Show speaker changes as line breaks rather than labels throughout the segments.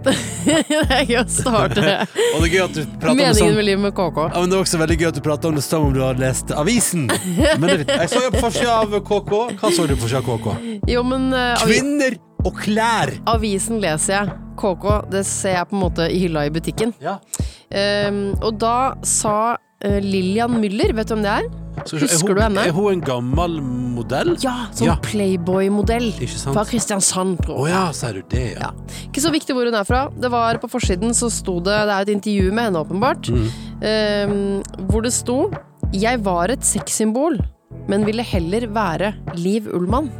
det er gøy å starte
Og det er gøy at du prater om det
meningen
sånn.
med livet med KK.
Ja, men det er også veldig gøy at du prater om det som om du har lest avisen. Men det, er fint. jeg så jo på forsida av KK. Hva så du på forsida av KK?
Jo, men eh, avi
Kvinner og klær!
avisen leser jeg. KK, det ser jeg på en måte i hylla i butikken.
Ja.
Ehm, og da sa eh, Lillian Müller, vet du hvem det er?
Så, er
Husker
hun-
du henne?
Er hun en gammel modell?
Ja, sånn
Ja.
Playboy-modell.
Ikke sant?
Fra Kristiansand, tror
Å
jeg.
ja, sier du det, ja.
Ja. Ikke så viktig hvor hun er fra. Det var På forsiden så sto det Det er et intervju med henne, åpenbart. ehm, hvor det sto 'Jeg var et sexsymbol, men ville heller være Liv Ullmann'.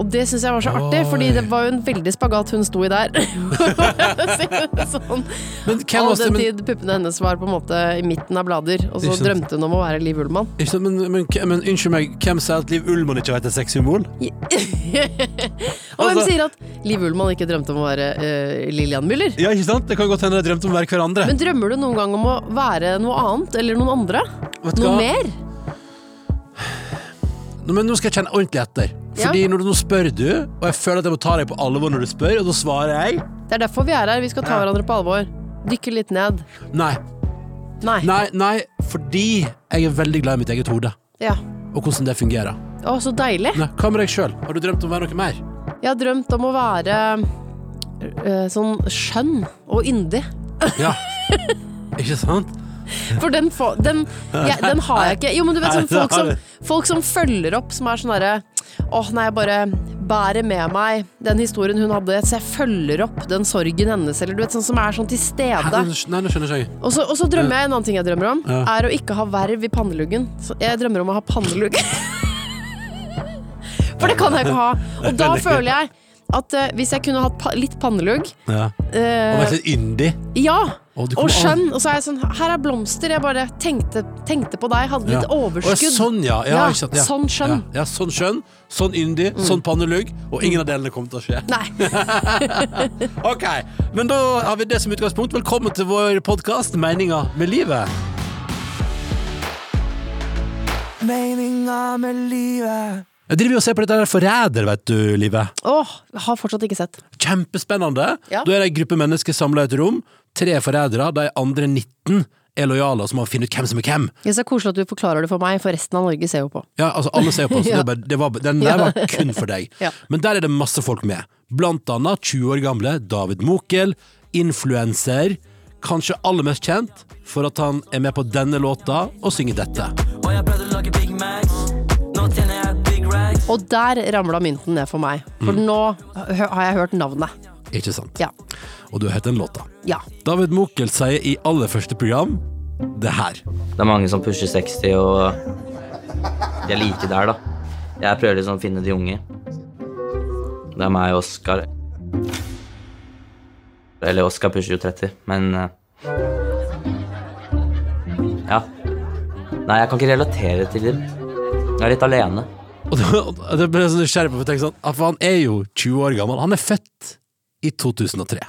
Og det syns jeg var så artig,
Oi.
fordi det var jo en veldig spagat hun sto i der. sånn,
Men hvem
all
var det
den
men,
tid puppene hennes var på en måte i midten av blader, og
Ikke
så
sant.
drømte hun om å være Liv Ullmann.
ikke sant, men, men, men unnskyld meg, hvem sier at Liv Ullmann ikke har vært et sexsymbol?
Og hvem
Altså-
sier at Liv Ullmann ikke drømte om å være eh, Lillian Müller?
Ja, ikke sant? Det kan godt hende de drømte om å være hverandre.
Men drømmer du noen gang om å være noe annet eller noen andre?
Vet du
Noe
hva?
mer?
Nå, men nå skal jeg kjenne ordentlig etter.
Ja.
Fordi når du, Nå spør du, og jeg føler at jeg må ta deg på alvor når du spør, og da svarer jeg
Det er derfor vi er her. Vi skal ta
Ja.
hverandre på alvor. Dykke litt ned.
nei.
Nei.
Nei, nei, fordi jeg er veldig glad i mitt eget hode.
Ja.
Og hvordan det fungerer.
Å, så deilig.
Nei, Hva med deg sjøl? Har du drømt om å være noe mer?
Jeg har drømt om å være eh, sånn skjønn og yndig.
Ja. Ikke sant?
For den, få, den, jeg- den har jeg ikke. Jo, men du vet
Nei,
sånn
det
folk
har
som,
du.
folk som følger opp, som er sånn derre Åh, nei, jeg bare bærer med meg den historien hun hadde, så jeg følger opp den sorgen hennes, eller du vet, sånn som er sånn til
Hæ,
stede.
Nei, nå skjønner jeg ikke.
Og så, og så drømmer jeg en annen ting jeg drømmer om,
Ja.
er å ikke ha verv i panneluggen. Så jeg drømmer om å ha pannelugg. For det kan jeg ikke ha. Og da
Veldig.
føler jeg at eh, hvis jeg kunne hatt pa litt pannelugg
Ja.
eh,
Og vært litt yndig.
Ja!
Å, du
Og
kommer an-
skjønn. Og så er jeg sånn Her er blomster. Jeg bare tenkte, tenkte på deg. Hadde litt
Ja. Å,
overskudd.
ja, sånn, ja. ja,
Ja,
ikke sant?
sånn skjønn.
Ja, ja, sånn skjønn, sånn yndig, sånn pannelugg. Og ingen av delene kommer til å skje.
Nei.
Ok, men da har vi det som utgangspunkt. Velkommen til vår podkast 'Meninga med livet'. Meninga med livet Jeg driver jo og ser på dette der Forræder, vet du, Livet.
Åh, har fortsatt ikke sett.
Kjempespennende.
Ja.
Da er det ei gruppe mennesker samla i et rom. Tre forrædere. De andre 19 er lojale og så må finne ut hvem som er hvem.
Det er så koselig at du forklarer det for meg, for resten av Norge ser jo på.
Ja, altså alle ser på oss,
Ja.
det var, det var, den der var kun for deg.
Ja.
Men der er det masse folk med. Blant annet 20 år gamle David Mokel, influenser, kanskje aller mest kjent for at han er med på denne låta og synger dette.
Og jeg pleide å lage Big Macs. Nå tjener jeg big racks.
Og der ramla mynten ned for meg. For
Mm.
nå hø- har jeg hørt navnet.
Ikke sant?
Ja.
Og du har hørt den låta.
Ja.
David Mokel sier i aller første program det her.
Det er mange som pusher 60, og de er like der, da. Jeg prøver liksom å finne de unge. Det er meg og Oskar. Eller Oskar pusher jo 30, men eh, Ja. Nei, jeg kan ikke relatere til dem. Jeg er litt alene.
Og det, og det ble jeg så nysgjerrig på, for jeg tenkte sånn, at for han er jo 20 år gammel. Han er født i 2003.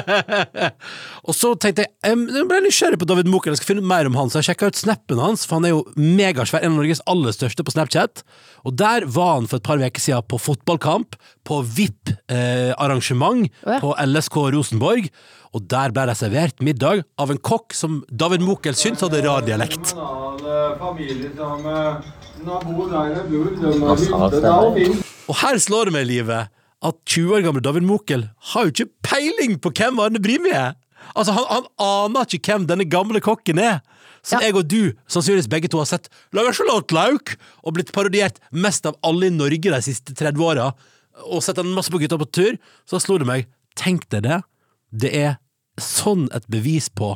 og så tenkte jeg, em, jeg ble nysgjerrig på David Mokel, jeg skal finne ut mer om han, så jeg sjekka ut snappen hans, for han er jo megasvær, en av Norges aller største på Snapchat. Og der var han for et par uker siden på fotballkamp, på VIP-arrangement
Å ja.
eh, på LSK Rosenborg, og der ble det servert middag av en kokk som David Mokel syntes hadde rar dialekt.
kommunale familier som eh, nabo der jeg bor, de
Hva
har
sa
hytte. Det er jo
Steinar?
fint.
Og her slår det meg i livet at 20 år gamle David Mokel har jo ikke peiling på hvem Arne Brimi er. Altså, han, han aner ikke hvem denne gamle kokken er. Som
Ja.
jeg og du sannsynligvis begge to har sett lager sjalotlauk og blitt parodiert mest av alle i Norge de siste 30 åra. Og sett han masse på gutta på tur. Så slo det meg. Tenk deg det. Det er sånn et bevis på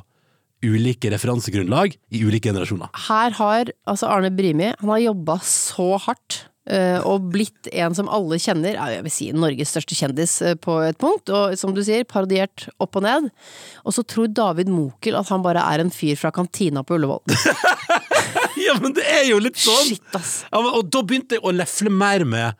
ulike referansegrunnlag i ulike generasjoner.
Her har altså Arne Brimi Han har jobba så hardt. eh, og blitt en som alle kjenner, ja, jeg vil si Norges største kjendis eh, på et punkt. Og som du sier, parodiert opp og ned. Og så tror David Mokel at han bare er en fyr fra kantina på Ullevål.
Ja, men det er jo litt sånn!
Shit, ass.
Ja, men, og da begynte jeg å lefle mer med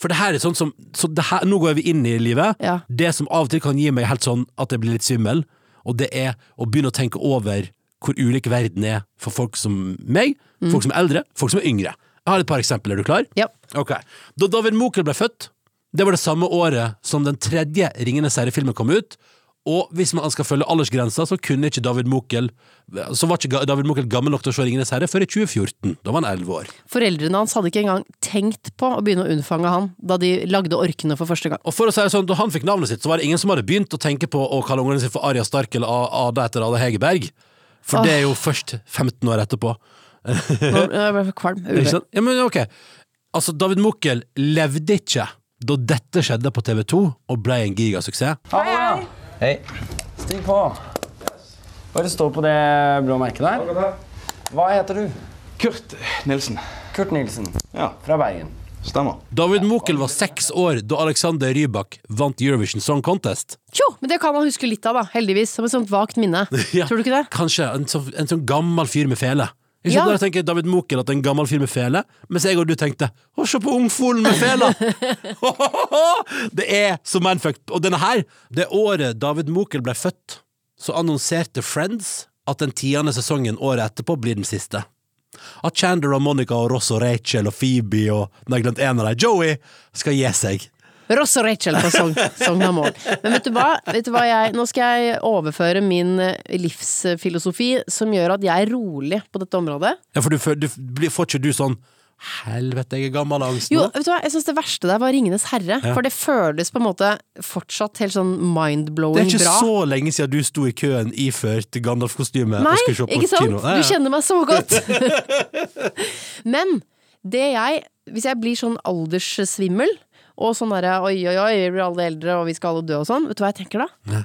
For det her er sånn som så det her, Nå går vi inn i livet.
Ja.
Det som av og til kan gi meg helt sånn at jeg blir litt svimmel, og det er å begynne å tenke over hvor ulik verden er for folk som meg,
Mm.
folk som er eldre, folk som er yngre. Jeg har et par eksempler. Er du klar?
Ja.
Ok. Da David Mokel ble født, det var det samme året som den tredje Ringenes herre-filmen kom ut. Og hvis man skal følge aldersgrensa, så kunne ikke David Mokel Så var ikke Ga- David Mokel gammel nok til å se Ringenes herre før i 2014. Da var han 11 år.
Foreldrene hans hadde ikke engang tenkt på å begynne å unnfange han da de lagde orkene for første gang.
Og for å si det sånn, Da han fikk navnet sitt, så var det ingen som hadde begynt å tenke på å kalle ungene sine for Aria Stark eller A- Ada etter Ada Hegerberg. For det er jo først 15 år etterpå.
Nå jeg ble jeg kvalm. Jeg
Ikke
ble-
sant? Ja, men ok. Altså, David Mokel levde ikke da dette skjedde på TV 2 og ble en gigasuksess.
Hei. Stig på. Bare stå på det blå merket der. Hva heter du?
Kurt Nilsen.
Kurt Nilsen.
Ja.
Fra Bergen.
Stemmer.
David Mokel var seks år da Alexander Rybak vant Eurovision Song Contest.
Tjo! Men det kan han huske litt av, da. Heldigvis. Som et sånt vagt minne.
Ja,
Tror du ikke det?
Kanskje en, sånn- en sånn gammel fyr med fele. Ikke
Ja.
sant? Der tenker David Mokel at det er en gammel fyr med fele, mens jeg og du tenkte å, se på ungfolen med fele! det er så manfucked. Og denne her, det året David Mokel ble født, så annonserte Friends at den tiende sesongen året etterpå blir den siste. At Chandler og Monica og Ross og Rachel og Phoebe og nei, jeg glemte en av dem, Joey, skal gi seg.
Ross og Rachel på Sogn- Sognamor. Men vet du hva? Vet du hva jeg, nå skal jeg overføre min eh, livsfilosofi som gjør at jeg er rolig på dette området.
Ja, for du, fø- du, blir- får ikke du sånn Helvete, jeg er gammel av angsten.
Jo,
nå?»
vet du hva? Jeg syns det verste der var Ringenes herre. For det føles på en måte fortsatt helt sånn
Det
mind-blowing
er ikke
bra.
så lenge siden du sto i køen iført Gandalf-kostyme
Nei,
og skulle se på
ikke sant?
kino. Nei,
Du
ja.
kjenner meg så godt. Men det jeg Hvis jeg blir sånn alderssvimmel, og sånn derre oi, oi, oi, vi blir alle eldre, og vi skal alle dø og sånn, vet du hva jeg tenker da?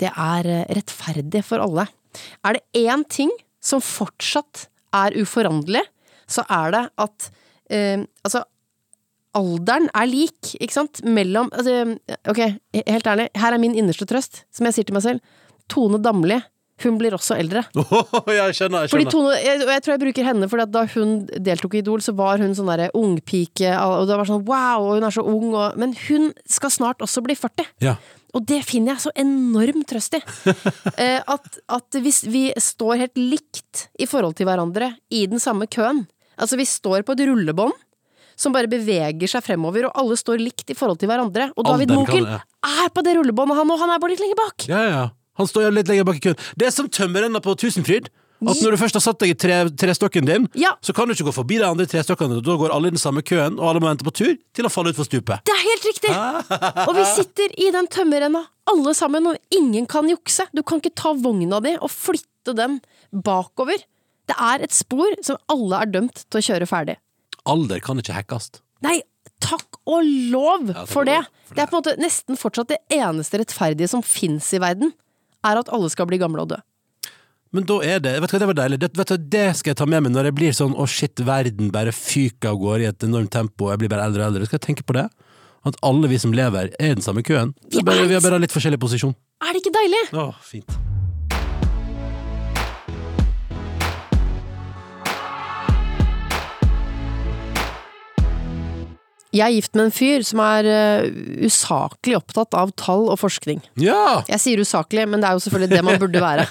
Det er eh, rettferdig for alle. Er det én ting som fortsatt er uforanderlig, så er det at eh, Altså, alderen er lik, ikke sant? Mellom altså, Ok, he- helt ærlig, her er min innerste trøst, som jeg sier til meg selv. Tone Damli, hun blir også eldre.
jeg skjønner, jeg
Fordi
skjønner.
Tone, jeg, og jeg tror jeg bruker henne fordi at da hun deltok i Idol, så var hun sånn derre ungpike, og det var sånn wow, og hun er så ung, og Men hun skal snart også bli 40.
Ja.
Og det finner jeg så enorm trøst i. Eh, at, at hvis vi står helt likt i forhold til hverandre i den samme køen Altså, vi står på et rullebånd som bare beveger seg fremover, og alle står likt i forhold til hverandre. Og David
Alderen kan-
Mokel
ja.
er på det rullebåndet, han òg! Han er bare litt lenger bak!
ja, ja. Han står jo litt lenger bak i køen. Det er som tømmerrenna på Tusenfryd. At når du først har satt deg i tre, trestokken din,
Ja.
så kan du ikke gå forbi de andre trestokkene. Da går alle i den samme køen, og alle må vente på tur til å falle utfor stupet.
Det er helt riktig! Og vi sitter i den tømmerrenna, alle sammen, og ingen kan jukse. Du kan ikke ta vogna di og flytte den bakover. Det er et spor som alle er dømt til å kjøre ferdig.
Alder kan ikke hackast.
Nei, takk og lov
takk og
for det!
lov for
Det er på en måte nesten fortsatt det eneste rettferdige som fins i verden, er at alle skal bli gamle og dø.
Men da er det Vet du hva, det var deilig. Det, vet du, det skal jeg ta med meg når jeg blir sånn Å, shit, verden bare fyker av gårde i et enormt tempo, og jeg blir bare eldre og eldre. Skal jeg tenke på det? At alle vi som lever, er i den samme køen. Vi,
Vi
bare,
er-
vi har bare litt forskjellig posisjon.
Er det ikke deilig?
Å, fint.
Jeg er gift med en fyr som er eh, usaklig opptatt av tall og forskning.
Ja!
Jeg sier usaklig, men det er jo selvfølgelig det man burde være.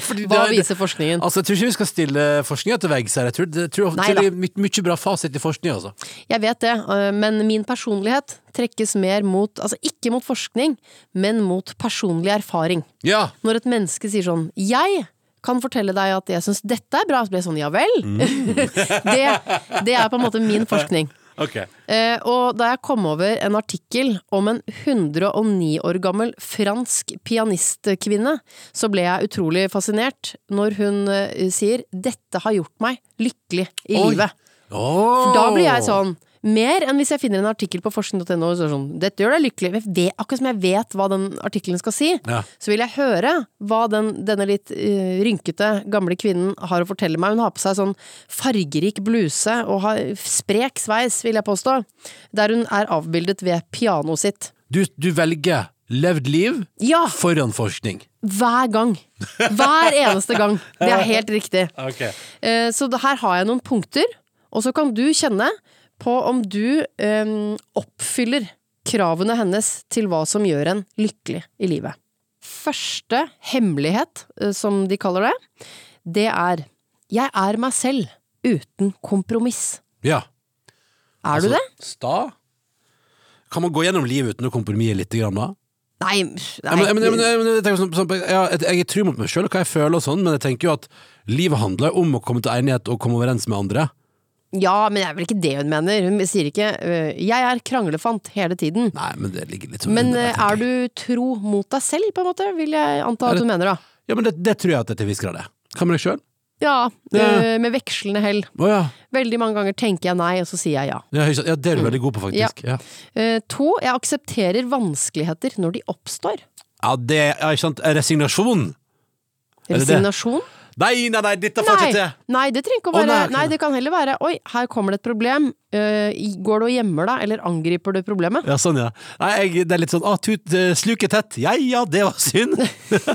Fordi det
Hva
er-
viser forskningen?
Altså, Jeg tror ikke vi skal stille forskninga til veggs her. Jeg tror, jeg tror,
Nei da.
det er my mye bra fasit i forskninga, altså.
Jeg vet det, øh, men min personlighet trekkes mer mot, altså ikke mot forskning, men mot personlig erfaring.
Ja!
Når et menneske sier sånn 'jeg kan fortelle deg at jeg syns dette er bra', så blir jeg sånn 'ja vel'? det, det er på en måte min forskning.
Ok.
Eh, og da jeg kom over en artikkel om en 109 år gammel fransk pianistkvinne, så ble jeg utrolig fascinert når hun eh, sier 'dette har gjort meg lykkelig i
Oi.
livet'. For da blir jeg sånn mer enn hvis jeg finner en artikkel på forskning.no og så er det sånn, dette gjør deg lykkelig. Jeg vet, akkurat som jeg vet hva den artikkelen skal si,
Ja.
så vil jeg høre hva den, denne litt eh, rynkete gamle kvinnen har å fortelle meg. Hun har på seg sånn fargerik bluse og har sprek sveis, vil jeg påstå, der hun er avbildet ved pianoet sitt.
Du, du velger levd liv
Ja,
foran forskning.
hver gang. Hver eneste gang. Det er helt riktig.
Ok.
Eh, Så det- her har jeg noen punkter, og så kan du kjenne på om du øhm, oppfyller kravene hennes til hva som gjør en lykkelig i livet. Første hemmelighet, øh, som de kaller det, det er 'jeg er meg selv uten kompromiss'.
Ja.
Er
Altså-
du det?
Sta? Kan man gå gjennom livet uten å kompromisse litt, grann, da?
Nei, pff,
Ja, men,
nei.
men, men, men, jeg, tenker sånn, sånn, ja, jeg, jeg er tru mot meg sjøl og hva jeg føler, og sånn, men jeg tenker jo at livet handler om å komme til enighet og komme overens med andre.
Ja, men det er vel ikke det hun mener. Hun sier ikke øh, 'jeg er kranglefant' hele tiden.
Nei, men det ligger litt sånn
Men
under
øh,
der, tenker
er
jeg.
du tro mot deg selv, på en måte, vil jeg anta at hun mener, da.
Ja, men det, det tror jeg at det er til en viss grad er. Hva med deg sjøl?
Ja,
Ja.
øh, med vekslende hell.
Å ja.
Veldig mange ganger tenker jeg nei, og så sier jeg ja.
Ja, ikke sant. ja, det
Mm.
er du veldig god på, faktisk. Ja, ja.
Eh, to, jeg aksepterer vanskeligheter når de oppstår.
det er ikke sant. Resignasjon. Er det det?
Resignasjon?
Nei, nei, nei, dette får jeg
Nei.
ikke til!
nei, det trenger ikke å
Å,
være
nei, ok.
Nei, det kan heller være Oi, her kommer det et problem. Eh, i- går du og gjemmer deg, eller angriper du problemet?
Ja, sånn, ja. Nei, jeg, det er litt sånn ah, tut, eh, sluket tett. Ja ja, det var synd.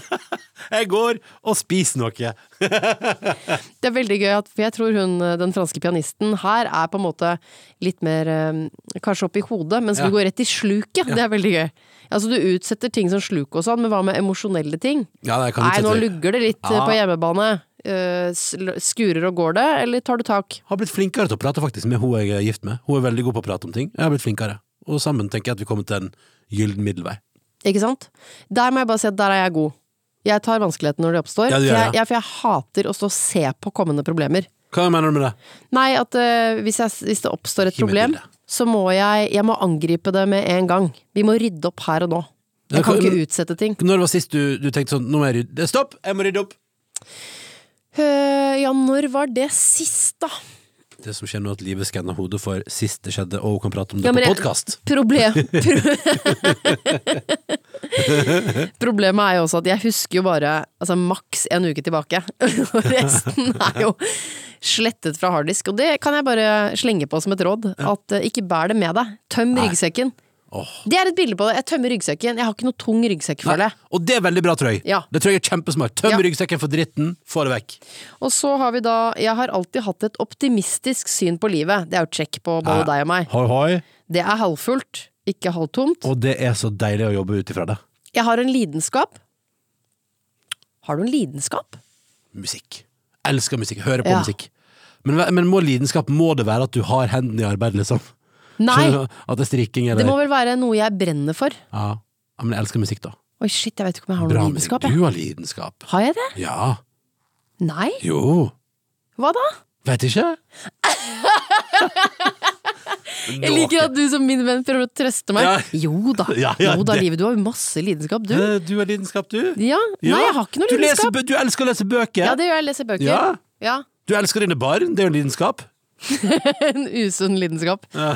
jeg går og spiser noe.
Det er veldig gøy, at, for jeg tror hun eh, den franske pianisten her er på en måte litt mer eh, Kanskje oppi hodet, mens
Ja.
du går rett i sluket. Det er veldig gøy. Altså, du utsetter ting som sluk og sånn, men hva med emosjonelle ting?
Ja, nei, jeg kan
Nei,
ikke
nå
tro-
lugger det litt eh,
Ja.
på hjemmebane. Eh, sl- skurer og går det, eller tar du tak?
Har blitt flinkere til å prate faktisk med hun jeg er gift med. Hun er veldig god på å prate om ting. Jeg har blitt flinkere. Og sammen tenker jeg at vi kommer til en gyllen middelvei.
Ikke sant? Der må jeg bare si at der er jeg god. Jeg tar vanskelighetene når de oppstår.
Ja, du gjør
for, jeg,
det.
ja, for jeg hater å stå og se på kommende problemer.
Hva mener du med det?
Nei, at eh, hvis, jeg, hvis det oppstår et
Gi meg
problem,
bildet.
så må jeg, jeg må angripe det med en gang. Vi må rydde opp her og nå.
Ja,
Jeg kan
hva-
ikke utsette ting.
Når var sist du, du tenkte sånn Nå må jeg rydde Stopp! Jeg må rydde opp!
Eh, ja, når var det sist, da?
Det som skjer nå, er at livet skanner hodet for sist det skjedde, og hun kan prate om det
Ja, men
på
jeg-
podkast.
Problem pro- Problemet er jo også at jeg husker jo bare altså, maks en uke tilbake. Og resten er jo slettet fra harddisk. Og det kan jeg bare slenge på som et råd. At eh, ikke bær det med deg. Tøm ryggsekken.
Åh.
Det er et bilde på det. Jeg tømmer ryggsekken. Jeg har ikke noe tung ryggsekk, føler jeg.
Og det er veldig bra, tror jeg.
Ja.
Det tror jeg er kjempesmart. Tøm
Ja.
ryggsekken for dritten, få det vekk.
Og så har vi da Jeg har alltid hatt et optimistisk syn på livet. Det er jo check på både deg og meg.
Hoi, hoi.
Det er halvfullt, ikke halvtomt.
Og det er så deilig å jobbe ut ifra det.
Jeg har en lidenskap. Har du en lidenskap?
Musikk. Elsker musikk. Hører på
Ja.
musikk. Men, men må lidenskap må det være at du har hendene i arbeid, liksom?
Nei,
Skjønner du? At det er strikking
det
eller
må vel være noe jeg brenner for.
ja. ja, men jeg elsker musikk, da.
Oi, shit, jeg vet ikke om jeg har
Bra
noen
musikk.
lidenskap. Jeg.
Du har lidenskap.
Har jeg det?
Ja.
Nei?
Jo.
Hva da?
Vet ikke.
Jeg liker at du som min venn prøver å trøste meg.
Ja.
Jo da,
Ja, ja,
jo da,
det-
livet. Du har jo masse lidenskap, du.
Eh, Du har lidenskap, du?
Ja,
Ja.
Nei, jeg har ikke noe
du leser,
lidenskap.
bø- du elsker å lese bøker.
Ja, det gjør jeg. Leser bøker.
Ja.
ja.
Du elsker dine barn. Det er jo en lidenskap.
En usunn lidenskap.
Ja.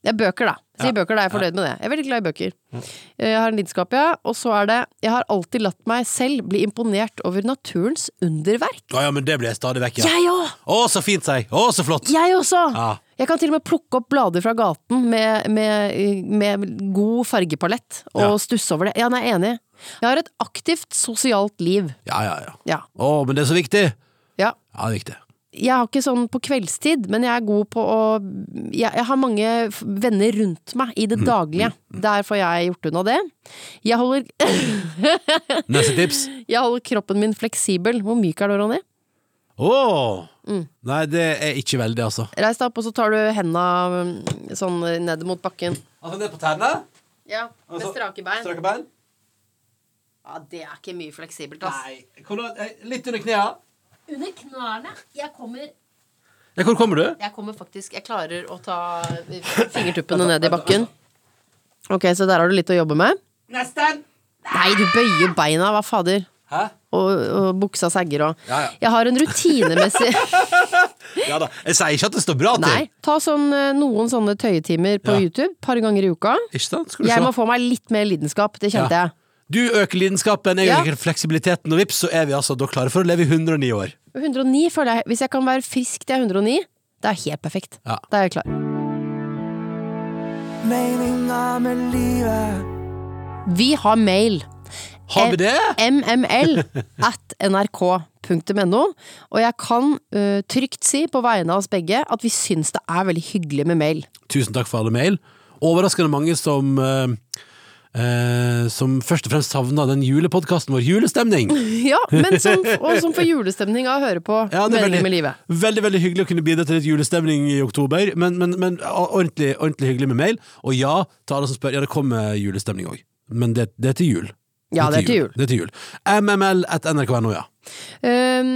Det er bøker, da. Si bøker, da. Jeg er fornøyd med det. Jeg er veldig glad i bøker.
Mm.
Eh, Jeg har en lidenskap, ja. Og så er det Jeg har alltid latt meg selv bli imponert over naturens underverk.
Å ja, men det blir jeg stadig vekk, ja.
Jeg òg!
Å, så fint, sier jeg. Å, så flott.
Jeg også!
Ja.
Jeg kan til og med plukke opp blader fra gaten med, med, med god fargepalett og
Ja.
stusse over det. Ja, nei, jeg er enig. Jeg har et aktivt sosialt liv.
Ja, ja, ja.
Ja.
Å, men det er så viktig. Ja,
ja.
det er viktig.
Jeg har ikke sånn på kveldstid, men jeg er god på å Jeg, jeg har mange f- venner rundt meg i det
Mm.
daglige. Der får jeg gjort unna det. Jeg holder,
Neste tips.
jeg holder kroppen min fleksibel. Hvor myk er du, Ronny?
Å!
Mm.
Nei, det er ikke veldig, altså.
Reis deg opp, og så tar du henda mm, sånn ned mot bakken.
Altså ned på tærne,
Ja, med
Altså,
strake bein.
strake bein.
Ja, det er ikke mye fleksibelt, ass.
eh, litt under knærne.
Under knærne. Jeg kommer,
Ja, hvor kommer du?
jeg kommer faktisk Jeg klarer å ta eh, fingertuppene ned i bakken. Altså, Ok, så der har du litt å jobbe med.
Nesten.
Nei, du bøyer beina, hva fader.
Hæ?
Og, og buksa sagger og
Ja, ja.
Jeg har en rutinemessig
Ja da. Jeg sier ikke at det står bra til.
Nei, ta sånn, eh, noen sånne tøyetimer på
Ja.
YouTube par ganger i uka.
Ikke sant? Skal du
Jeg
se.
må få meg litt mer lidenskap, det kjente
Ja.
jeg.
Du øker lidenskapen, jeg
Ja.
øker fleksibiliteten, og vips, så er vi altså da klare for å leve i 109 år.
109 føler jeg Hvis jeg kan være frisk til jeg er 109, det er helt perfekt.
Ja.
Da er jeg klar.
Meninga med livet
Vi har mail. Eh,
Har vi det?
mml at nrk .no, og jeg kan eh, trygt si på vegne av oss begge at vi syns det er veldig hyggelig med mail.
Tusen takk for alle mail. Overraskende mange som eh, eh, som først og fremst savna den julepodkasten vår, Julestemning.
Ja, men som, og som får julestemning av å høre på
Ja, det er
Melding
veldig,
med livet.
veldig veldig hyggelig å kunne bidra til litt julestemning i oktober, men, men, men ordentlig, ordentlig hyggelig med mail. Og ja, til alle som spør, ja, det kommer julestemning òg, men det, det er til jul.
Ja, det er til jul.
Det er til jul. MML at nrk.no, ja.
Ehm,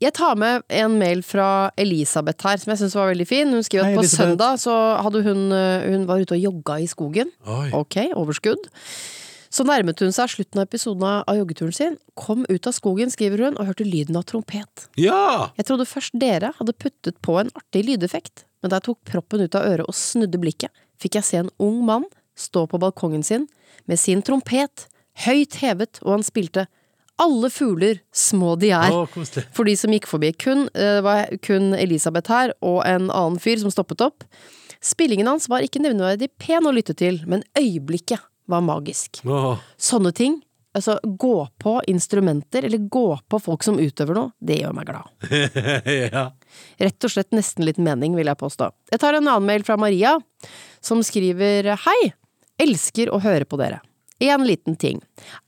jeg tar med en mail fra Elisabeth her, som jeg syns var veldig fin. Hun skriver at
Hei,
på
Elisabeth.
søndag så hadde hun, eh, hun var ute og jogga i skogen.
Oi.
Ok, overskudd. Så nærmet hun seg slutten av episoden av joggeturen sin. Kom ut av skogen, skriver hun, og hørte lyden av trompet.
Ja!
Jeg trodde først dere hadde puttet på en artig lydeffekt, men da jeg tok proppen ut av øret og snudde blikket, fikk jeg se en ung mann stå på balkongen sin med sin trompet høyt hevet, og han spilte Alle fugler, små de er.
Å, koselig.
For de som gikk forbi, kun, eh, var kun Elisabeth her og en annen fyr som stoppet opp. Spillingen hans var ikke nevneverdig pen å lytte til, men øyeblikket var magisk.
Åh.
Sånne ting, altså gå på instrumenter eller gå på folk som utøver noe, det gjør meg glad.
ja.
Rett og slett nesten litt mening, vil jeg påstå. Jeg tar en annen mail fra Maria, som skriver Hei! Elsker å høre på dere. En liten ting.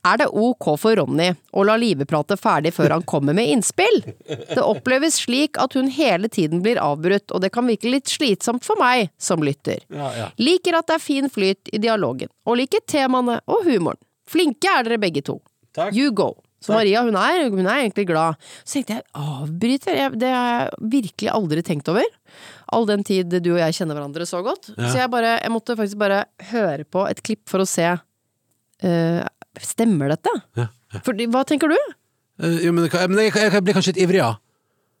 Er det ok for Ronny å la Live prate ferdig før han kommer med innspill? Det oppleves slik at hun hele tiden blir avbrutt, og det kan virke litt slitsomt for meg som lytter. Liker at det er fin flyt i dialogen, og liker temaene og humoren. Flinke er dere begge to. You go. Så Maria hun er, hun er egentlig glad. Så tenkte jeg avbryter, jeg, det har jeg virkelig aldri tenkt over. All den tid du og jeg kjenner hverandre så godt. Så jeg, bare, jeg måtte faktisk bare høre på et klipp for å se eh, Stemmer dette?
Ja,
Fordi- hva tenker du?
Eh, jo, men, men jeg, jeg, jeg blir kanskje litt ivrig, ja.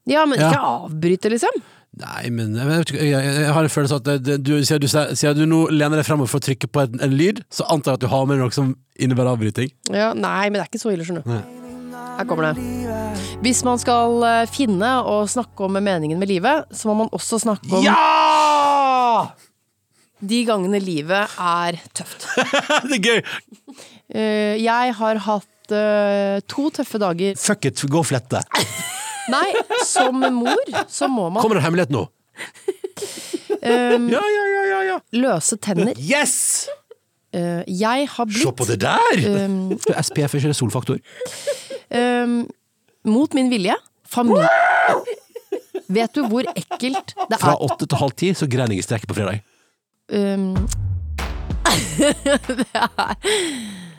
Ja, men
Ja.
ikke avbryte, liksom.
Nei, men jeg, vet ikke, jeg, jeg har en følelse at det, det, du, siden, du, siden du nå lener deg fremover for å trykke på en, en lyd, så antar jeg at du har med noe som innebærer avbryting.
Ja, nei, men det er ikke så ille, skjønner du. Her kommer det. Hvis man skal eh, finne og snakke om meningen med livet, så må man også snakke om de gangene livet er tøft.
det er gøy!
Eh, jeg har hatt eh, to tøffe dager.
Fuck it, gå og flette.
Nei, som mor så må man
Kommer det en hemmelighet nå?
Ehm.
ja, ja, ja, ja, ja.
løse tenner.
Yes!
Eh, jeg har blitt
Se på det der!
Um,
SPF er ikke det solfaktor.
Ehm, mot min vilje. Familie Vet du hvor ekkelt det
Fra
er
åtte til halv ti så grein jeg i strekket på fredag.
Ehm,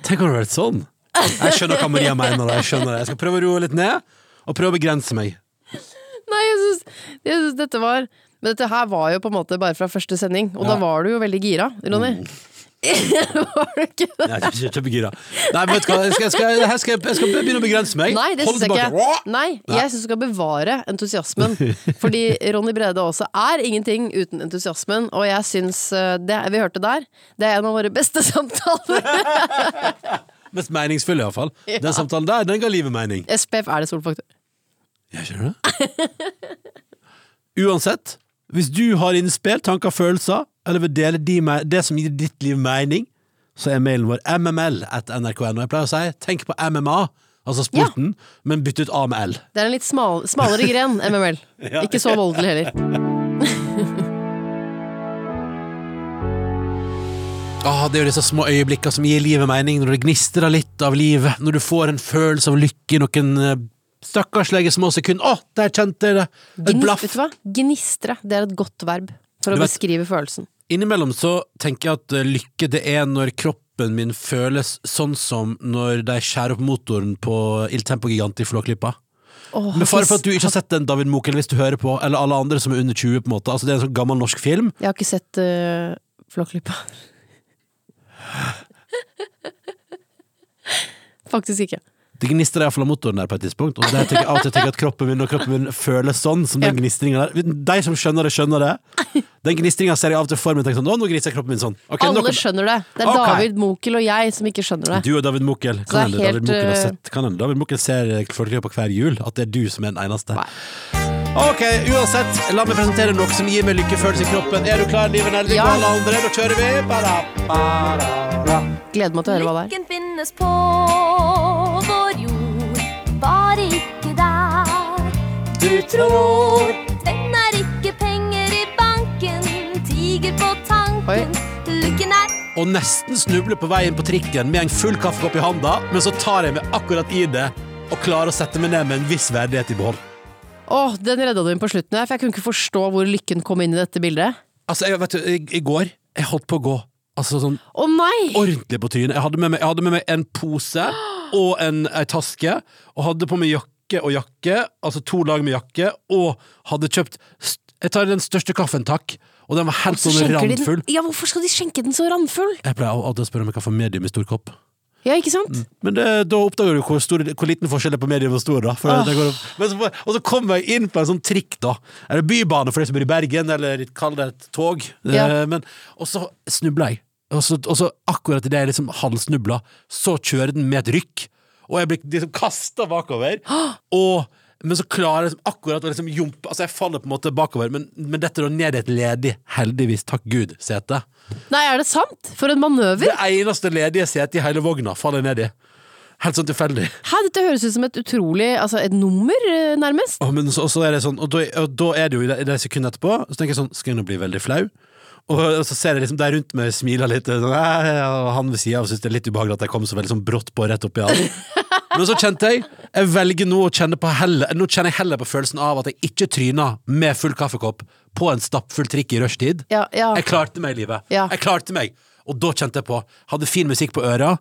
Tenk om det hadde vært sånn! Jeg skjønner hva Maria mener. Jeg skjønner det. Jeg skal prøve å roe litt ned, og prøve å begrense meg.
Nei, jeg syns, jeg synes dette var Men dette her var jo på en måte bare fra første sending, og
Ja.
da
Mm.
var du jo veldig gira, Ronny. var du ikke det?
Nei, jeg er kjempegira. Nei, men vet du hva, jeg skal, jeg skal, jeg skal, jeg skal begynne å begrense meg.
Nei, det
Hold
syns jeg ikke.
tilbake.
Nei, jeg syns du skal bevare entusiasmen. Fordi Ronny Brede også er ingenting uten entusiasmen, og jeg syns eh, det vi hørte der, det er en av våre beste samtaler.
Mest meningsfull, iallfall. fall Den samtalen der, den ga livet mening.
SPF er det solfaktor.
Jeg skjønner det. Uansett, hvis du har innspill, tanker, følelser, eller vil dele de me- det som gir ditt liv mening, så er mailen vår mml at nrk.no. Jeg pleier å si tenk på MMA, altså sporten, men bytt ut A med L.
Det er en litt smal, smalere gren, MML. Ikke så voldelig heller.
Ah, det er jo disse små øyeblikkene som gir livet mening, når det gnistrer litt av livet, når du får en følelse av lykke i noen eh, stakkarslige små sekunder. Å, der kjente jeg det! Et
Gnis-
blaff.
Vet du hva? Gnistre, det er et godt verb
Du
for å
vet-
beskrive følelsen.
Innimellom så tenker jeg at eh, lykke det er når kroppen min føles sånn som når de skjærer opp motoren på Il Tempo Gigant i Flåklypa.
Åh,
Med fare for at du ikke har sett den, David Mokel, hvis du hører på, eller alle andre som er under 20, på en måte. Altså, det er en sånn gammel norsk film.
Jeg har ikke sett uh, Flåklypa. Faktisk ikke.
Det gnistrer iallfall av motoren der på et tidspunkt, og der tenker jeg alltid tenker jeg at kroppen min og kroppen min føles sånn som den
Ja.
gnistringa der. De som skjønner det, skjønner det. Den gnistringa ser jeg av og til for meg og tenker sånn, å, nå griser kroppen min sånn. Ok, nok om-
Alle skjønner det. Det er
Ok.
David Mokel og jeg som ikke skjønner det.
Du og David Mokel.
Så det er
Kan hende David
helt,
Mokel har
eh,
sett Kan hende David Mokel ser Folkeklipp på hver jul. At det er du som er den eneste. Ok, uansett, la meg presentere noe som gir meg lykkefølelse i kroppen. Er du klar, Liven Elvik
Ja.
og alle andre? Da kjører vi! Bada, bada, bada.
Gleder meg til å høre hva det er.
Lykken finnes på vår jord, bare ikke der. du tror. Trenger ikke penger i banken, tiger på tanken. Lykken er
og nesten snubler på veien på trikken med en full kaffekopp i handa, men så tar jeg meg akkurat i det og klarer å sette meg ned med en viss verdighet i behold.
Åh, den redda du inn på slutten her, for jeg kunne ikke forstå hvor lykken kom inn i dette bildet.
Altså, jeg, vet du, i, i går jeg holdt på å gå altså, sånn
Å nei!
ordentlig på trynet. Jeg hadde med meg, jeg hadde med meg en pose og en, ei taske, og hadde på meg jakke og jakke, altså to lag med jakke, og hadde kjøpt st- Jeg tar den største kaffen, takk, og den var helt
Så
sånn
skjenker de den-
randfull.
Ja, hvorfor skal de skjenke den så randfull?
Jeg pleier alltid å spørre om jeg kan få medium i stor kopp.
Ja, ikke sant?
Men det, da oppdager du hvor, stor, hvor liten forskjell det er på medium og stor. Da, for det går, opp. men så, får- og så kommer jeg inn på en sånn trikk, da. Eller bybane for de som bor i Bergen, eller kall det et tog.
Ja.
Eh, Men, og så snubler jeg. Og så, og så akkurat idet jeg liksom halvsnubla, så kjører den med et rykk. Og jeg blir liksom kasta bakover. Og, men så klarer jeg liksom akkurat å liksom jumpe. Altså, jeg faller på en måte bakover, men, men dette da ned i et ledig, heldigvis, takk gud, sete.
Nei, er det sant? For en manøver!
Det eneste ledige setet i hele vogna faller jeg ned i. Helt sånn tilfeldig.
Hæ, dette høres ut som et utrolig Altså, et nummer, eh, nærmest.
Og, men så, og så er det sånn, og da, og da er det jo i det, i det sekundet etterpå, så tenker jeg sånn, skal jeg nå bli veldig flau? Og, og så ser jeg liksom der rundt meg smiler litt, sånn, «Æ», og han ved siden av synes det er litt ubehagelig at jeg kom så veldig sånn brått på rett opp i han. Men så kjente jeg, jeg velger nå å kjenne på heller, nå kjenner jeg heller på følelsen av at jeg ikke tryna med full kaffekopp på en stappfull trikk i rushtid.
Ja, ja.
Jeg klarte meg i livet.
Ja.
Jeg klarte meg. Og da kjente jeg på, hadde fin musikk på øra,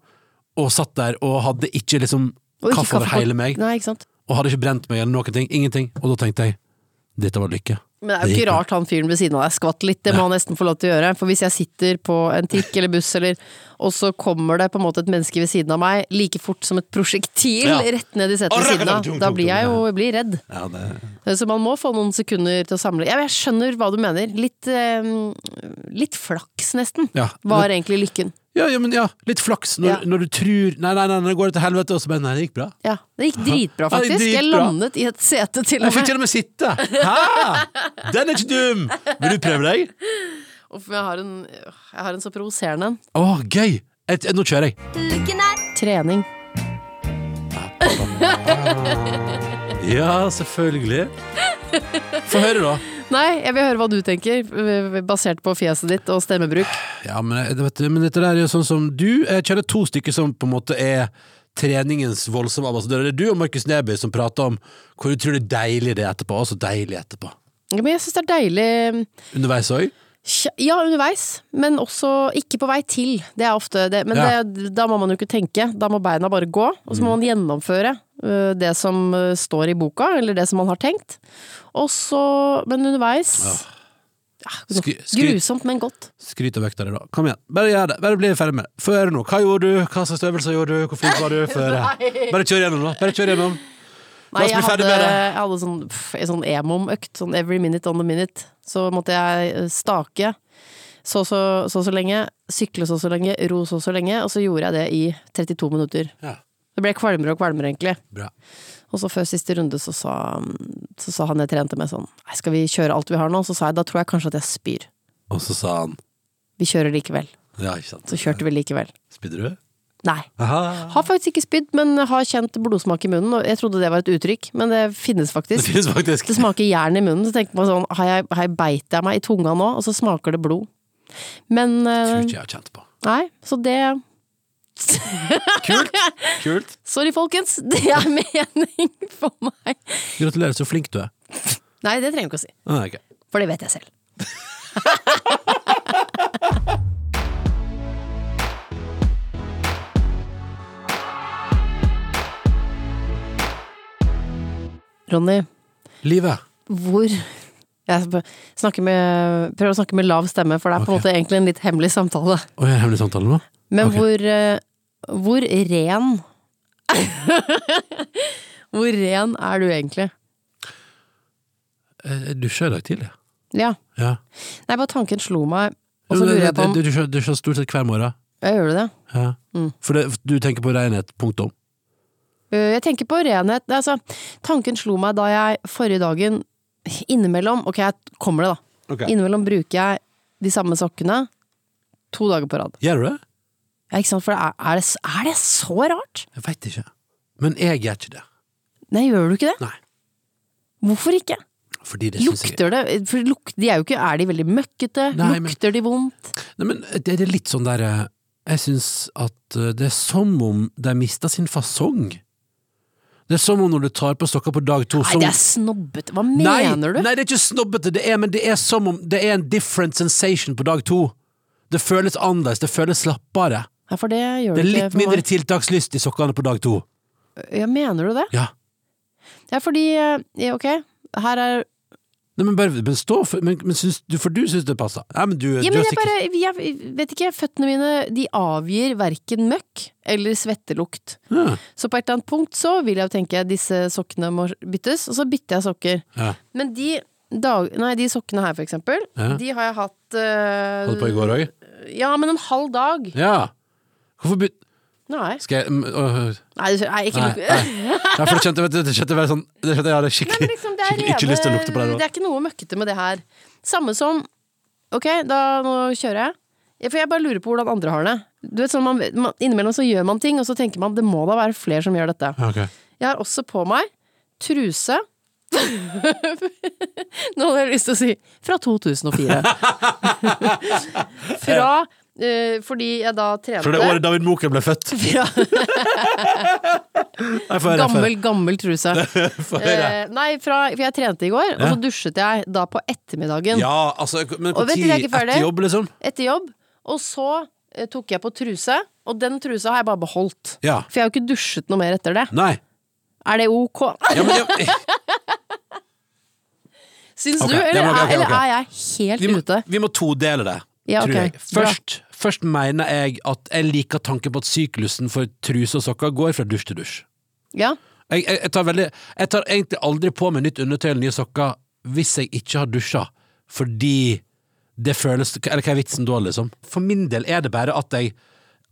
og satt der og hadde ikke liksom
Og ikke
kaffe over
kaffekort.
hele meg
Nei, ikke sant?
og hadde ikke brent meg eller noen ting. Ingenting. Og da tenkte jeg dette var lykke.
Men det er jo
gikk
ikke
bra.
rart han fyren ved siden av deg skvatt litt, det må han nesten få lov til å gjøre. For hvis jeg sitter på en trikk eller buss, eller, og så kommer det på en måte et menneske ved siden av meg like fort som et prosjektil
Ja.
rett ned i setet ved
Arrakadabdum,
siden av,
dum,
da
dum,
blir jeg
dum,
jo jeg blir redd.
Ja, det...
Så man må få noen sekunder til å samle Ja, men Jeg skjønner hva du mener. Litt, eh, litt flaks, nesten,
Ja.
var egentlig lykken.
ja, ja, men ja, litt flaks når,
Ja.
når du tror Nei, nei, nei, nå går det til helvete, og så bare Nei, det gikk bra.
Ja, Det gikk dritbra,
Ja, det gikk
faktisk. Jeg
dritbra.
landet i et sete, til
Jeg
og
fikk
med.
til og med sitte! Hæ? Den er ikke dum! Vil du prøve deg?
Uff, jeg har en, jeg har en så provoserende en.
Å, gøy! Et, et, nå kjører jeg.
lykken er
Trening.
Ja, selvfølgelig. Få høre, da.
Nei, jeg vil høre hva du tenker, eh, basert på fjeset ditt og stemmebruk.
Ja, men, jeg- vet du, men dette der er jo sånn som du Jeg kjenner to stykker som på en måte er treningens voldsomme ambassadører. Det er du og Markus Neby som prater om hvor utrolig deilig det er etterpå, og så deilig etterpå.
Ja, Men jeg syns det er deilig
Underveis òg.
kja- Ja, underveis, men også ikke på vei til. Det er ofte det. Men
Ja.
det, da må man jo ikke tenke. Da må beina bare gå, og så må man gjennomføre øh, det som øh, står i boka, eller det som man har tenkt. Og så Men underveis ja,
Skry- skryt.
Grusomt, men godt.
Skryt av vekta di, da. Kom igjen. Bare gjør det. Bare bli ferdig med det. Få høre nå. Hva gjorde du? Hva slags øvelser gjorde du? Hvor flink var du? Få høre. Bare kjør gjennom, da. Bare kjør gjennom. La
Nei,
oss bli
jeg
ferdig
hadde,
med det.
jeg hadde sånn, pff, en sånn emom-økt, sånn every minute on the minute. Så måtte jeg eh, stake så så, så så lenge, sykle så så lenge, ro så så lenge, og så gjorde jeg det i 32 minutter.
Ja.
Det ble kvalmere og kvalmere, egentlig.
Bra.
Og så før siste runde så sa, så sa han jeg trente med sånn Nei, skal vi kjøre alt vi har nå? Så sa jeg da tror jeg kanskje at jeg spyr.
Og så sa han
Vi kjører likevel.
Ja, ikke sant.
Så kjørte vi likevel.
Spydde du?
Nei.
Aha.
Har faktisk ikke spydd, men har kjent blodsmak i munnen. Og jeg trodde det var et uttrykk, men det finnes
Det
faktisk.
finnes faktisk.
Det smaker jern i munnen, så tenker man sånn Har jeg, har jeg beit jeg meg i tunga nå? Og så smaker det blod. Men
Tror
eh,
ikke jeg har kjent på.
Nei, så det
Kult! Kult.
Sorry, folkens. Det er mening for meg.
Gratulerer, så flink du er.
Nei, det trenger vi ikke å si.
Ah, ok.
For det vet jeg selv. Ronny,
Livet.
hvor Jeg snakker med, prøver å snakke med lav stemme, for det er på en
Ok.
måte egentlig en litt hemmelig samtale.
Oi, er det hemmelig samtale nå?
Men
Ok.
hvor, eh, hvor ren Hvor ren er du egentlig?
Eh, Jeg dusja i dag tidlig.
Ja.
Ja.
Nei, bare tanken slo meg, og så
Jo,
lurer jeg
det-
på om
det-
Mm.
Du dusjer- dusjer stort sett hver morgen.
Ja, gjør du det?
Ja. For det, du tenker på renhet, punktum.
Øh, Jeg tenker på renhet. Nei, Altså, tanken slo meg da jeg forrige dagen innimellom Ok, jeg kommer det, da. Innimellom bruker jeg de samme sokkene to dager på rad.
Gjør du det?
Ja, ikke sant? For det er, er, det, s- er det så rart?
Jeg veit ikke. Men jeg gjør ikke det.
Nei, gjør du ikke det?
Nei.
Hvorfor ikke?
Fordi det synes jeg-
Lukter det for luk, de er, jo ikke, er de veldig møkkete?
Nei, men-
Lukter de vondt?
Nei, men det det er litt sånn der eh, Jeg syns at eh, det er som om de mista sin fasong. Det er som om når du tar på stokker på dag to
Nei,
som-
det er snobbete. Hva
nei,
mener du?
Nei, det er ikke snobbete, det er, men det er som om det er en different sensation på dag to. Det føles annerledes, det føles slappere.
Nei, for det gjør
Det er
det ikke
litt
for
mindre
meg.
tiltakslyst i sokkene på dag to.
Ja, mener du det?
Ja.
Ja, fordi eh, Ok, her er
Nei, men bare men stå for men, men syns, du, For du syns det passer. Nei, men du,
Ja,
du
men
er
jeg
sikkert
bare jeg Vet ikke, føttene mine de avgir verken møkk eller svettelukt.
Ja.
Så på et eller annet punkt så vil jeg jo tenke disse sokkene må byttes, og så bytter jeg sokker.
Ja.
Men de, dag, nei, de sokkene her, for eksempel,
Ja.
de har jeg hatt eh,
Holdt på i går òg?
Ja, men en halv dag.
Ja. Hvorfor begynte
Nei,
Skal jeg mm, øh,
nei, du- nei ikke
Nei,
luk-
nei. Ja, for det kjente, vet du, det kjente jeg bare sånn Det kjente jeg hadde
Nei, men
skikkelig,
liksom, det er
skikkelig ikke lyst til å lukte på det.
rene- Det
nå.
er ikke noe møkkete med det her. Samme som Ok, da nå kjører jeg. Ja, For jeg bare lurer på hvordan andre har det. Du vet, sånn man, man, innimellom så gjør man ting, og så tenker man det må da være flere som gjør dette.
Ja, ok.
Jeg har også på meg truse Nå hadde jeg lyst til å si fra 2004. fra eh, Fordi jeg da trente
Fra det året David Moken ble født.
Fra
Nei, får høre, får høre.
gammel, gammel truse.
Får høre.
Eh, nei, fra, for jeg trente i går, og så dusjet jeg da på ettermiddagen.
Ja, altså Men på
Og vet
ti
dere, jeg er ikke ferdig.
etter jobb, liksom?
etter jobb, og så eh, tok jeg på truse, og den trusa har jeg bare beholdt.
Ja.
For jeg har jo ikke dusjet noe mer etter det.
Nei.
Er det ok?
Ja, men jeg,
Syns
Ok,
du, eller,
ja, men ok, ok,
er- eller
ok.
er jeg helt
vi, må,
ute?
vi må todele det,
Ja,
tror
ok.
jeg. Først, først mener jeg at jeg liker tanken på at syklusen for truse og sokker går fra dusj til dusj.
Ja.
Jeg, jeg, jeg, tar veldig, jeg tar egentlig aldri på meg nytt undertøy eller nye sokker hvis jeg ikke har dusja, fordi det føles Eller hva er vitsen da, liksom? For min del er det bare at jeg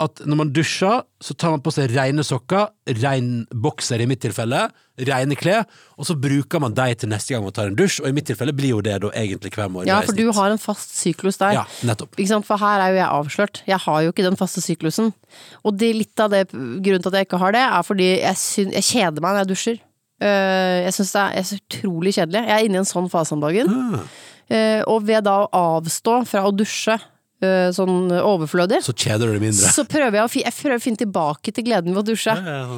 at når man dusjer, så tar man på seg rene sokker, ren bokser i mitt tilfelle, rene klær, og så bruker man de til neste gang man tar en dusj, og i mitt tilfelle blir jo det da egentlig hver morgen.
ja,
i
for du
snitt.
har en fast syklus der.
Ja, nettopp.
Ikke sant? For her er jo jeg avslørt. Jeg har jo ikke den faste syklusen. Og det, litt av det grunnen til at jeg ikke har det, er fordi jeg, syn- jeg kjeder meg når jeg dusjer. Eh, jeg syns det er, jeg er så utrolig kjedelig. Jeg er inne i en sånn fase om dagen.
Ah.
Eh, og ved da å avstå fra å dusje eh, sånn overflødig,
Så kjeder du deg mindre.
Så prøver jeg å, fi, jeg prøver å finne tilbake til gleden ved å dusje.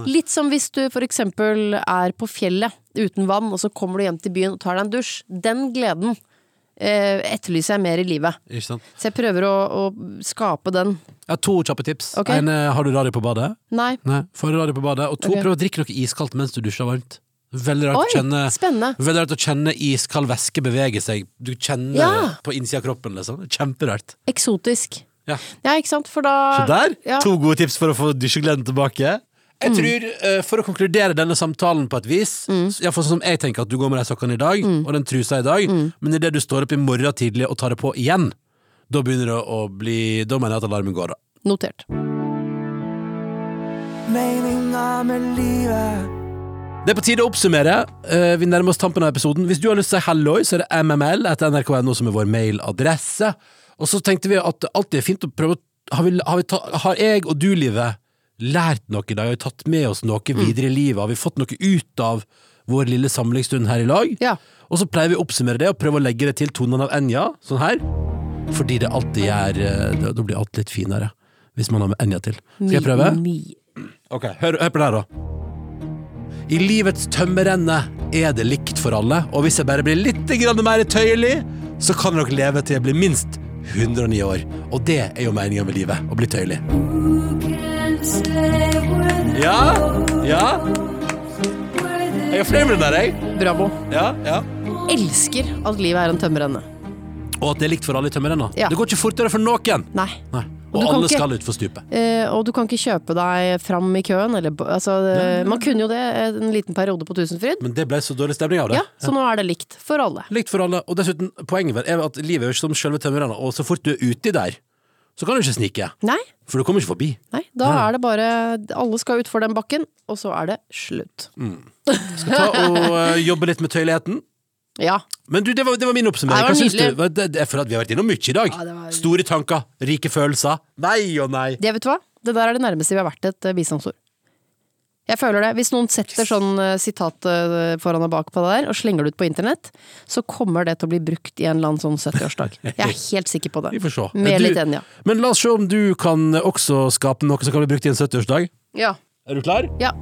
Litt som hvis du for eksempel er på fjellet uten vann, og så kommer du hjem til byen og tar deg en dusj. Den gleden eh, etterlyser jeg mer i livet.
Ikke sant?
Så jeg prøver å, å skape den.
Jeg har to kjappe tips.
Ok.
En, eh, har du radio på badet?
Nei.
Nei. Får du radio på badet? Og to,
Ok.
prøv å drikke noe iskaldt mens du dusjer varmt. Veldig rart
Oi,
å kjenne
spennende.
Veldig rart å kjenne iskald væske bevege seg. Du kjenner
Ja.
det på innsida av kroppen, liksom. Kjemperart.
Eksotisk.
Ja.
Ja, ikke sant? For da
Så der,
Ja. Mm.
to gode tips for å få dusjegleden tilbake. Jeg tror, eh, For å konkludere denne samtalen på et vis s- ja, for sånn som Jeg tenker at du går med de sokkene i dag,
Mm.
og den trusa i dag, men idet du står opp i morgen tidlig og tar det på igjen, da begynner det å bli Da mener jeg at alarmen går, da.
Notert.
Meninga med livet.
Det er på tide å oppsummere. Eh, Vi nærmer oss tampen av episoden. Hvis du har lyst til å si halloi, så er det mml etter nrk.no som er vår mailadresse. Og så tenkte vi at det alltid er fint å prøve å Har, vi, har, vi ta, har jeg og du, Livet, lært noe i dag? Har vi tatt med oss noe
Mm.
videre i livet? Har vi fått noe ut av vår lille samlingsstund her i lag?
Ja.
Og så pleier vi å oppsummere det og prøve å legge det til tonene av Enja, sånn her. Fordi det alltid gjør eh, Da da blir alt litt finere. Hvis man har med Enja til. Skal jeg prøve?
Mi,
Ok, hør, hør på det her da I livets tømmerende er det likt for alle Og hvis jeg bare blir litt grann mer tøyelig Så kan dere leve til jeg blir minst 109 år Og det er jo meningen med livet Å bli tøyelig Ja, ja Jeg er flere med den der, jeg
mi. Bravo.
Ja, ja
Elsker at livet er en tømmerende.
Og at det er likt for alle i tømmerende
Ja.
Det går ikke fortere for noen
Nei.
Nei,
Og
og
du kan
alle
ikke-
skal ut for stupet
Eh, og du kan ikke kjøpe deg fram i køen, eller b- altså eh, Man kunne jo det en liten periode på Tusenfryd.
Men det ble så dårlig stemning av det
Ja, så nå er det likt for alle.
Likt for alle, og dessuten, poenget vel er at livet er jo ikke som selve tømmerrenna, og så fort du er uti der, så kan du ikke snike,
Nei,
for du kommer ikke forbi.
nei, da er det bare Alle skal utfor den bakken, og så er det slutt.
Skal ta og eh, jobbe litt med tøyeligheten.
Ja.
Men du, det var, det var min
Nei,
oppsummering.
det var
Hva syns du?
nydelig.
Hva- Det, det er for at vi har vært innom mye i dag.
Ja, det var-
Store tanker, rike følelser. Nei og nei.
Det vet du hva? Det der er det nærmeste vi har vært et eh, visdomsord. Jeg føler det. Hvis noen setter sånn eh, sitat eh, foran og bak på det der, og slenger det ut på internett, så kommer det til å bli brukt i en eller annen sånn 70-årsdag. Jeg er helt sikker på det.
Vi får se.
Mer
Du-
litt enn, ja.
Men la oss se om du kan også skape noe som kan bli brukt i en 70-årsdag.
Ja.
Er du klar?
Ja.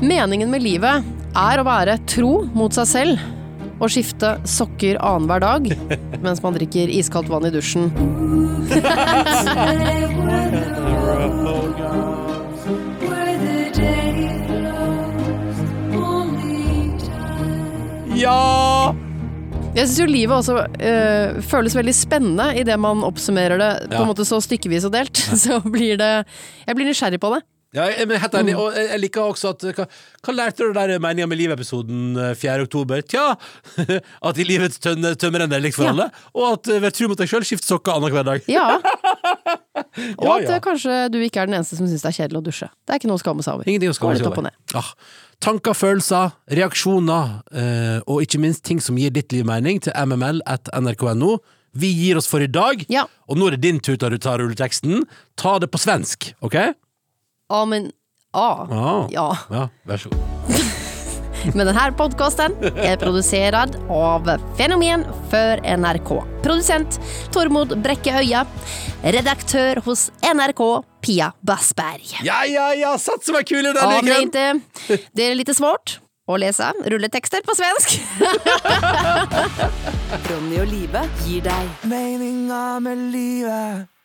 Meningen med livet er å være tro mot seg selv og skifte sokker annenhver dag mens man drikker iskaldt vann i dusjen.
Ja!
Jeg syns jo livet også eh, føles veldig spennende idet man oppsummerer det på
Ja.
en måte så stykkevis og delt. Så blir det Jeg blir nysgjerrig på det.
Ja, jeg, men helt
Mm.
enig, og jeg jeg liker også at Hva, hva lærte du der Meninga med livet-episoden eh, 4. oktober? Tja, at i livets tønne tømmer en er likt for
Ja.
alle, og at eh, vær tro mot deg sjøl, skift sokker annenhver dag.
Ja. Og
Ja,
at
ja.
eh, kanskje du ikke er den eneste som syns det er kjedelig å dusje. Det er ikke noe å skamme seg over.
Ingenting å skamme
Går litt
seg
opp og
over.
ned.
Ah, tanker, følelser, reaksjoner eh, og ikke minst ting som gir ditt liv mening, til mml at nrk.no. Vi gir oss for i dag,
Ja.
og nå er det din tur til å ta rulleteksten. Ta det på svensk, OK?
Amen. Ah.
Ah.
Ja.
Ja, vær så god.
Men denne podkasten er produsert av Fenomen for NRK. Produsent Tormod Brekke Øya. Redaktør hos NRK Pia Bassberg.
Ja, ja, ja, sats som er kule den
Om det
uken!
inte, det är lite svårt att läsa rulletekster på svensk.
Ronny og Live gir deg
Meninga med livet